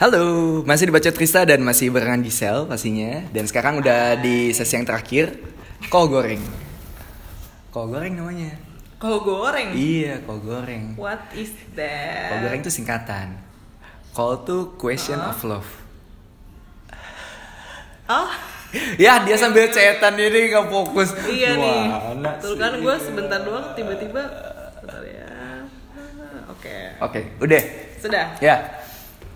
Halo, masih dibaca Trista dan masih barengan Gisel pastinya. Dan sekarang udah di sesi yang terakhir, kol goreng. Kol goreng namanya. Kau goreng. Iya, kol goreng. What is Kol that? goreng itu singkatan. Kol tuh question of love. Oh, Ya, dia sambil cetan jadi nggak fokus. iya nih. Gimana Tuh sih? kan gue sebentar doang tiba-tiba. Bentar ya. Oke. Oke, udah. Sudah. Ya.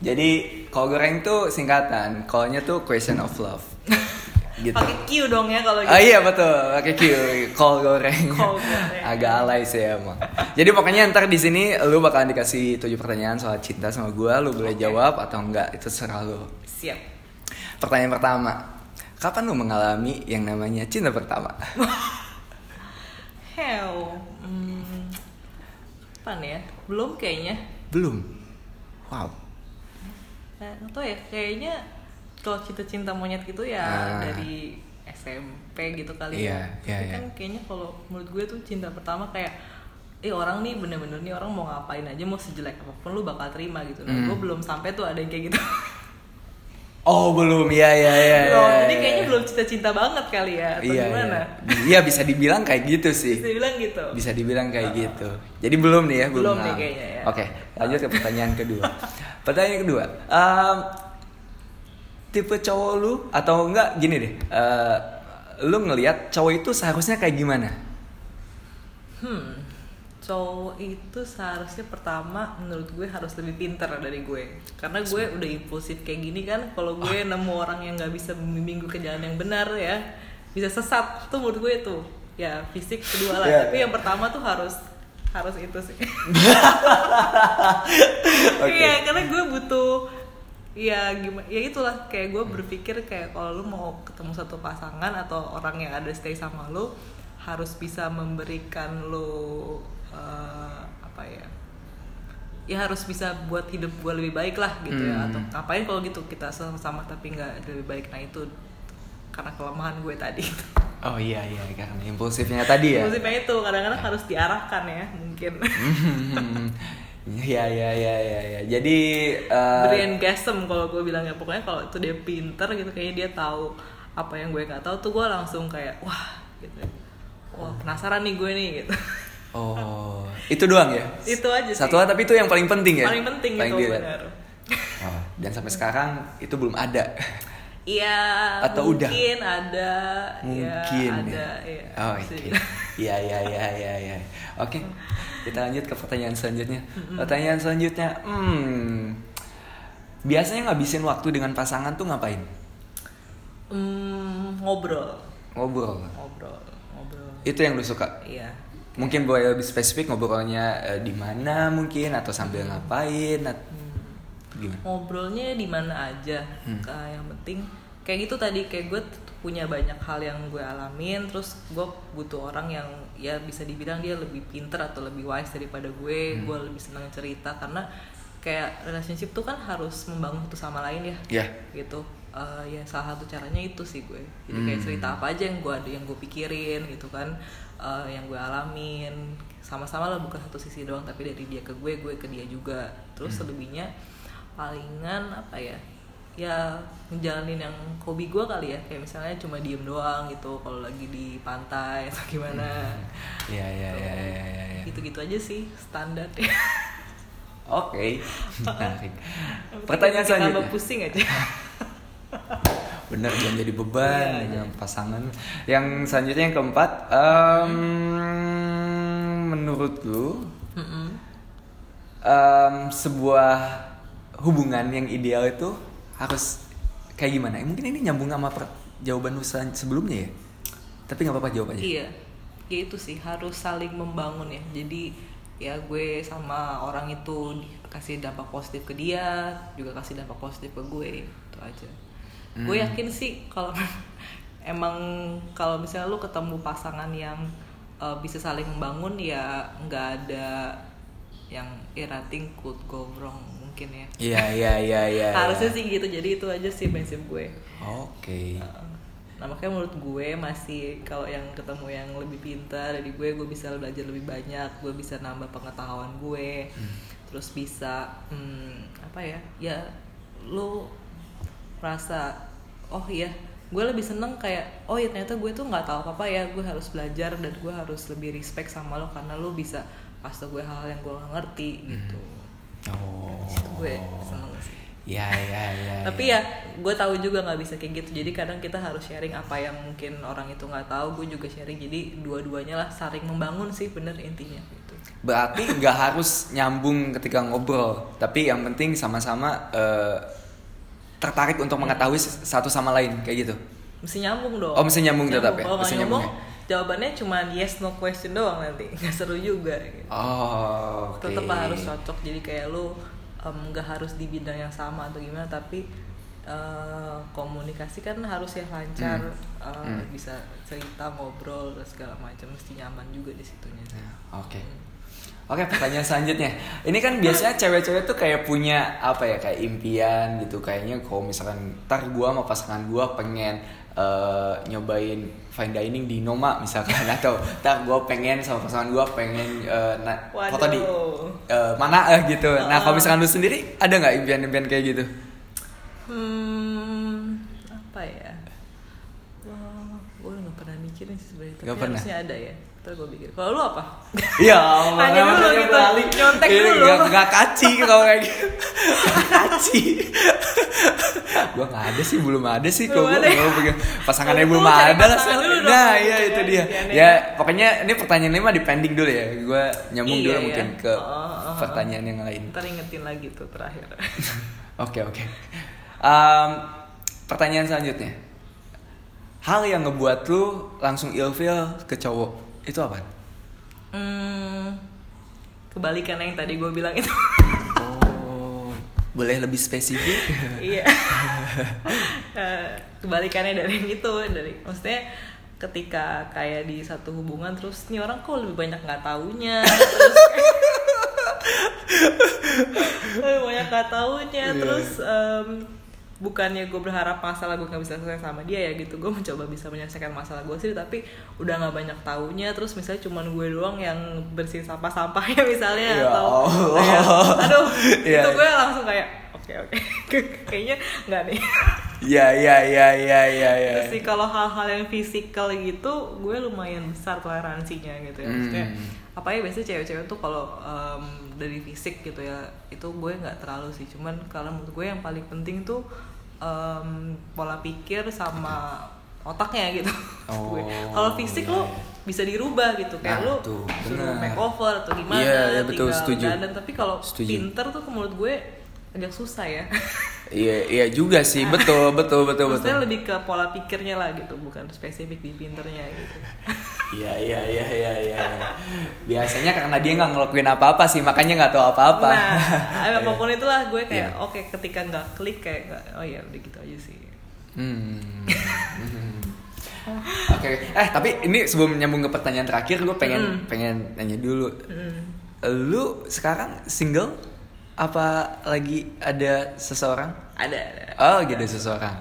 Jadi, kol goreng tuh singkatan. Kolnya tuh question of love. gitu. Pakai Q dong ya Oh kalau gitu. iya betul, pakai Q, kol goreng. Kol goreng. Agak alay sih emang. Jadi pokoknya ntar di sini lu bakalan dikasih tujuh pertanyaan soal cinta sama gua, lu boleh jawab atau enggak itu serah lu. Siap. Pertanyaan pertama, kapan lu mengalami yang namanya cinta pertama? Hell. Hmm. Kapan ya? Belum kayaknya. Belum. Wow. Nah, nggak tahu ya. Kayaknya kalau cinta-cinta monyet gitu ya Ah. dari SMP gitu kali Iya, iya, ya. Tapi iya. kan kayaknya kalau menurut gue tuh cinta pertama kayak Eh orang nih bener-bener nih orang mau ngapain aja mau sejelek apapun lu bakal terima gitu. Nah, Hmm. gue belum sampai tuh ada yang kayak gitu. Oh belum, ya ya ya. Belum. Jadi kayaknya belum cinta-cinta banget kali ya. Atau Iya, gimana? iya. Iya bisa dibilang kayak gitu sih. Bisa bilang gitu. Bisa dibilang kayak gitu. Jadi belum nih ya, belum. Belum nih mengalami. kayaknya ya. Oke, lanjut ke pertanyaan kedua. pertanyaan kedua, em, tipe cowok lu atau enggak gini deh, eh, lu ngelihat cowok itu seharusnya kayak gimana? Hmm, cowok itu seharusnya pertama menurut gue harus lebih pinter dari gue Karena gue udah impulsif kayak gini kan Kalau gue Ah. nemu orang yang gak bisa membimbing gue ke jalan yang benar ya Bisa sesat, tuh menurut gue itu Ya fisik kedua lah, Iya. tapi yang pertama tuh harus harus itu sih Oke. Iya, karena gue butuh ya gimana ya itulah kayak gue berpikir kayak kalau lu mau ketemu satu pasangan atau orang yang ada stay sama lu harus bisa memberikan lu eh, apa ya ya harus bisa buat hidup gue lebih baik lah gitu ya Hmm. atau ngapain kalau gitu kita sama-sama tapi nggak lebih baik nah itu karena kelemahan gue tadi Oh iya iya karena impulsifnya tadi ya. Maksudnya itu kadang-kadang harus diarahkan ya mungkin Hmm, Iya iya iya iya. iya. Jadi eh, Brian Gasem kalau gue bilangnya pokoknya kalau itu dia pinter gitu kayaknya dia tahu apa yang gue nggak tahu tuh gue langsung kayak wah gitu wah penasaran nih gue nih gitu Oh, itu doang ya? Itu aja sih. Satu hal, tapi itu yang paling penting ya? paling penting itu dilihat. benar Oh, dan sampai sekarang itu belum ada. iya Atau udah? mungkin ada Mungkin. ya, ada ya. ya, Oh, oke. Bisa dibilang. Iya, iya, iya, iya, iya. Oke. Kita lanjut ke pertanyaan selanjutnya. Pertanyaan selanjutnya, hmm. Biasanya ngabisin waktu dengan pasangan tuh ngapain? Hmm, ngobrol Ngobrol. ngobrol ngobrol Itu yang lu suka. iya Mungkin boleh lebih spesifik ngobrolnya eh, di mana mungkin atau sambil ngapain at- gimana? ngobrolnya di mana aja Hmm. Kayak yang penting kayak gitu tadi kayak gue t- punya banyak hal yang gue alamin terus gue butuh orang yang ya bisa dibilang dia lebih pinter atau lebih wise daripada Hmm. gue gue lebih senang cerita karena kayak relationship tuh kan harus membangun satu sama lain ya Ya. gitu Eh, ya salah satu caranya itu sih gue jadi kayak Hmm. cerita apa aja yang gue ada yang gue pikirin gitu kan eh, yang gue alamin sama-sama lah bukan satu sisi doang tapi dari dia ke gue gue ke dia juga terus Hmm. selebihnya palingan apa ya ya ngejalanin yang hobi gue kali ya kayak misalnya cuma diem doang gitu kalau lagi di pantai atau gimana Iya, iya, iya, iya, iya, iya. gitu-gitu aja sih standar ya Oke, menarik. Pertanyaan Bikin tambah selanjutnya. pusing aja Bener, jangan jadi beban Iya, dengan pasangan. Yang selanjutnya yang keempat, em, menurut lu Mm-mm. em, sebuah hubungan yang ideal itu harus kayak gimana? Eh, Mungkin ini nyambung sama per- jawaban lu selan- sebelumnya ya. Tapi nggak apa-apa jawabannya. Iya, ya itu sih harus saling membangun ya. Jadi ya gue sama orang itu di- kasih dampak positif ke dia, juga kasih dampak positif ke gue, itu aja. Gue yakin sih kalau emang kalau misalnya lu ketemu pasangan yang uh, bisa saling membangun ya nggak ada yang irating could go wrong mungkin ya. Iya, iya, iya, iya. Harusnya iya. sih gitu. Jadi itu aja sih prinsip gue. Oke. Nah makanya menurut gue masih kalau yang ketemu yang lebih pintar dari gue, gue bisa belajar lebih banyak, gue bisa nambah pengetahuan gue, terus bisa hmm, apa ya, ya lu merasa oh iya gue lebih seneng kayak oh iya ternyata gue tuh nggak tahu apa apa ya gue harus belajar dan gue harus lebih respect sama lo karena lo bisa pas gue hal yang gue nggak ngerti gitu Oh. Itu gue seneng sih Ya ya ya. tapi ya gue tahu juga nggak bisa kayak gitu jadi kadang kita harus sharing apa yang mungkin orang itu nggak tahu gue juga sharing jadi dua-duanya lah saling membangun sih bener intinya gitu Berarti nggak harus nyambung ketika ngobrol, tapi yang penting sama-sama eh, tertarik untuk mengetahui satu sama lain kayak gitu. mesti nyambung dong Oh, mesti nyambung tetap ya? kalau nggak Mesti nyambung, nyambung jawabannya cuma yes no question doang nanti nggak seru juga gitu. Oh, oke. tetap harus cocok jadi kayak lu em, nggak harus di bidang yang sama atau gimana tapi eh, komunikasi kan harus yang lancar Hmm. eh, bisa cerita ngobrol dan segala macam mesti nyaman juga di situnya Nah, Oke. Oke, pertanyaan selanjutnya. Ini kan biasanya cewek-cewek tuh kayak punya apa ya, kayak impian gitu. Kayaknya kalau misalkan ntar gua sama pasangan gua pengen eh, nyobain fine dining di Noma misalkan atau ntar gua pengen sama pasangan gua pengen eh, na- foto di Waduh. eh, mana eh, gitu. Nah, kalau misalkan lu sendiri ada nggak impian-impian kayak gitu? hmm apa ya Wah, gue nggak pernah mikirin sih sebenarnya tapi Nggak pernah. harusnya ada ya ntar gue pikir kalau lu apa Ya Allah, Tanya dulu namanya gitu, balik. nyontek Ini dulu. Gak, gak kaci kalau kayak gitu. Gak kaci. gua gak ada sih, belum ada sih. Kalau Belum gua ada. gua pengen pasangannya Lu belum cari ada lah. pasangan dulu dong, Nah, gitu iya kan, itu dia. impiannya. Ya, pokoknya ini pertanyaan ini mah dipending dulu ya. Gua nyambung Iya, dulu ya. mungkin ke Oh, oh, oh. pertanyaan yang lain. ntar ingetin lagi tuh terakhir Oke, oke. Em, pertanyaan selanjutnya. Hal yang ngebuat lu langsung ilfeel ke cowok itu apa? hmm kebalikan yang tadi gue bilang itu Oh, boleh lebih spesifik? iya Eh, kebalikannya dari yang itu dari maksudnya ketika kayak di satu hubungan terus nih orang kok lebih banyak nggak taunya terus kayak- lebih banyak nggak taunya Iya. terus em, bukannya gue berharap masalah gue nggak bisa selesai sama dia ya gitu gue mencoba bisa menyelesaikan masalah gue sih tapi udah nggak banyak taunya terus misalnya cuman gue doang yang bersihin sampah sampahnya misalnya Ya atau Allah. kayak, aduh Iya. itu gue langsung kayak oke oke kayaknya nggak nih Ya ya ya ya ya ya. terus sih kalau hal-hal yang fisikal gitu gue lumayan besar toleransinya gitu ya maksudnya Hmm. apa ya biasanya cewek-cewek tuh kalau em, dari fisik gitu ya itu gue nggak terlalu sih cuman kalau menurut gue yang paling penting tuh em, pola pikir sama otaknya gitu Oh, Gue. kalau fisik iya, lo bisa dirubah gitu kayak Nah, lo tuh, suruh bener. makeover atau gimana Iya, iya, betul, tinggal setuju. dandan. tapi kalau Setuju. pinter tuh menurut gue agak susah ya Iya iya juga sih, betul betul betul betul. Maksudnya lebih ke pola pikirnya lah gitu, bukan spesifik di pinternya gitu. Iya iya iya iya iya. iya. Biasanya karena dia nggak ngelakuin apa-apa sih, makanya nggak tahu apa-apa. Nah, apapun itulah gue Iya. kayak oke ketika nggak klik kayak nggak- oh ya udah gitu aja sih. Hmm. Oke, eh tapi ini sebelum nyambung ke pertanyaan terakhir, gue pengen pengen nanya dulu. Hmm. Lu sekarang single? Apa lagi ada seseorang? Ada, ada. Oh gitu Iya. seseorang.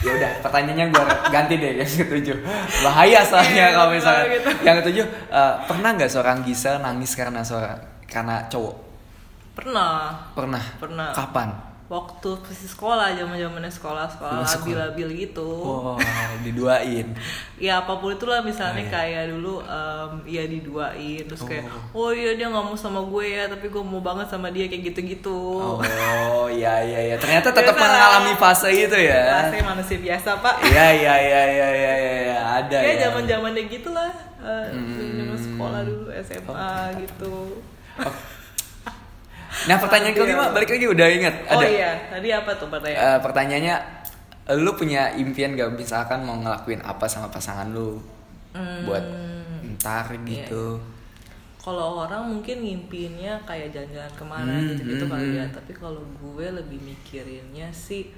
Ya udah, pertanyaannya gue ganti deh yang ketujuh. Bahaya soalnya Iya, kalau betul misalnya gitu. yang ketujuh eh, pernah nggak seorang Gisel nangis karena seorang karena cowok? Pernah Pernah. Pernah. Kapan? waktu masih sekolah, zaman zamannya sekolah Zaman sekolah. sekolah Oh. labil-labil gitu. Wow, diduain. Ya apapun itulah Oh, misalnya iya. kayak dulu em, ya diduain terus kayak oh iya dia nggak mau sama gue ya tapi gue mau banget sama dia kayak gitu-gitu. Oh, iya iya iya. Ternyata tetap Biasa lah. mengalami fase itu ya. Rasanya manusia biasa pak. Iya iya iya iya iya iya ada ya ya. Hmm. zaman zamannya gitulah eh, zaman sekolah dulu SMA gitu Nah, pertanyaan Sambil. kelima balik lagi udah ingat. Iya. oh ada. iya tadi apa tuh pertanyaan Eh, pertanyaannya lu punya impian gak misalkan mau ngelakuin apa sama pasangan lu Hmm. Iya, buat ntar gitu kalau orang mungkin ngimpiinnya kayak jalan-jalan kemana Hmm, gitu gitu hmm, kali ya hmm. tapi kalau gue lebih mikirinnya sih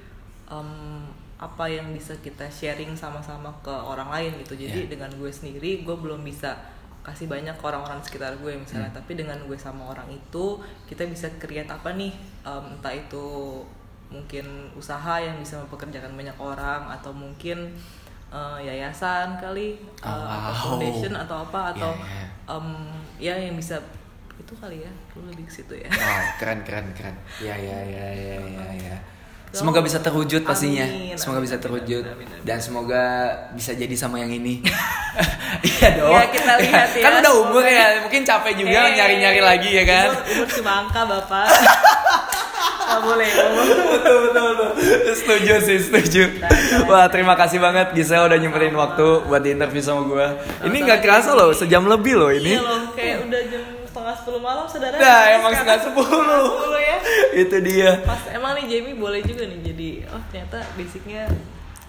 em, apa yang bisa kita sharing sama-sama ke orang lain gitu Ya. jadi dengan gue sendiri gue belum bisa kasih banyak ke orang-orang sekitar gue misalnya Hmm. tapi dengan gue sama orang itu kita bisa create apa nih em, entah itu mungkin usaha yang bisa mempekerjakan banyak orang atau mungkin eh, yayasan kali eh, Oh. atau foundation atau apa atau Iya, iya. Em, ya yang bisa itu kali ya lu lebih ke situ ya Iya, Wow, keren keren keren ya ya ya ya ya ya dong. Semoga bisa terwujud pastinya. Amin, semoga amin, bisa amin, terwujud amin, amin, amin. dan semoga bisa jadi sama yang ini. Iya dong. Ya, kita lihat ya. Kan udah umur Semoga. Iya, ya, mungkin capek juga Hey, nyari-nyari lagi ya kan. Umur, umur cuma angka bapak. Gak boleh ngomong. betul betul betul. Setuju sih, setuju. Wah, terima kasih banget Gisel udah nyemperin waktu buat di interview sama gue. Ini nggak kerasa loh, sejam lebih loh ini. Iya loh, kayak udah jam setengah sepuluh malam saudara. Nah, emang setengah sepuluh. sepuluh. Sepuluh ya. Itu dia. Pas emang nih Jamie boleh juga nih jadi oh ternyata basicnya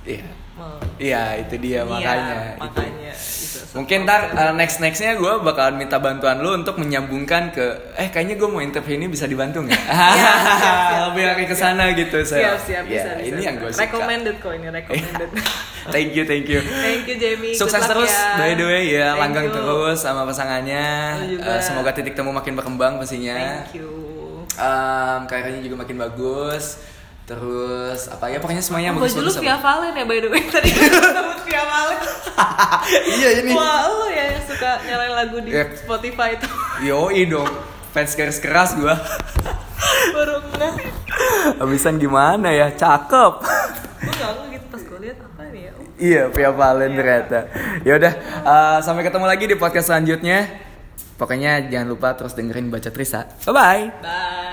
Iya. mau Iya, itu dia makanya. itu. makanya itu. Mungkin ntar uh, next nextnya gue bakalan minta bantuan lu untuk menyambungkan ke eh kayaknya gue mau interview ini bisa dibantu nggak? Iya, siap, siap. Lebih lagi ke sana gitu saya. siap siap Ya, bisa, bisa Ini bisa. yang gue suka. recommended kok ini recommended. thank you thank you. Thank you Jamie. Good Sukses luck terus ya. by the way ya Thank langgang you. terus sama pasangannya. Lu juga. Eh, semoga titik temu makin berkembang pastinya. Thank you. Em, karirnya juga makin bagus. Terus apa ya pokoknya semuanya Baju lu bagus-bagus Via apa- Valen ya by the way tadi sebut Via Valen. Iya ini. Wah lu ya yang suka nyalain lagu di Ya. Spotify itu Yoi dong fans garis keras gue. baru ngeh. Habisan gimana ya cakep. Gue nggak ngeh gitu pas gue lihat apa nih ya. Oh, Iya, Via Valen ternyata. Ya udah, eh, sampai ketemu lagi di podcast selanjutnya. Pokoknya jangan lupa terus dengerin baca Trisa. Bye bye. Bye.